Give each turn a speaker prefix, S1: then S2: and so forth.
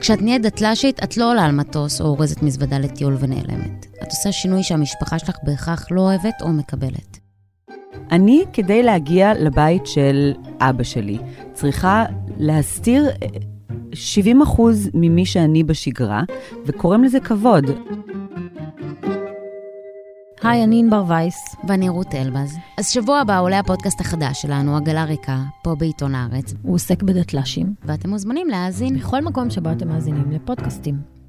S1: כשאת נהיית דתל"שית, את לא עולה על מטוס או אורזת מזוודה לטיול ונעלמת. את עושה שינוי שהמשפחה שלך בהכרח לא אוהבת או מקבלת.
S2: אני, כדי להגיע לבית של אבא שלי, צריכה להסתיר 70 אחוז ממי שאני בשגרה, וקוראים לזה כבוד.
S3: היי, אני ענבר וייס.
S1: ואני רות אלבז. אז שבוע הבא עולה הפודקאסט החדש שלנו, עגלה ריקה, פה בעיתון הארץ,
S3: הוא עוסק בדתל"שים.
S1: ואתם מוזמנים להאזין.
S3: בכל מקום שבו אתם מאזינים לפודקאסטים.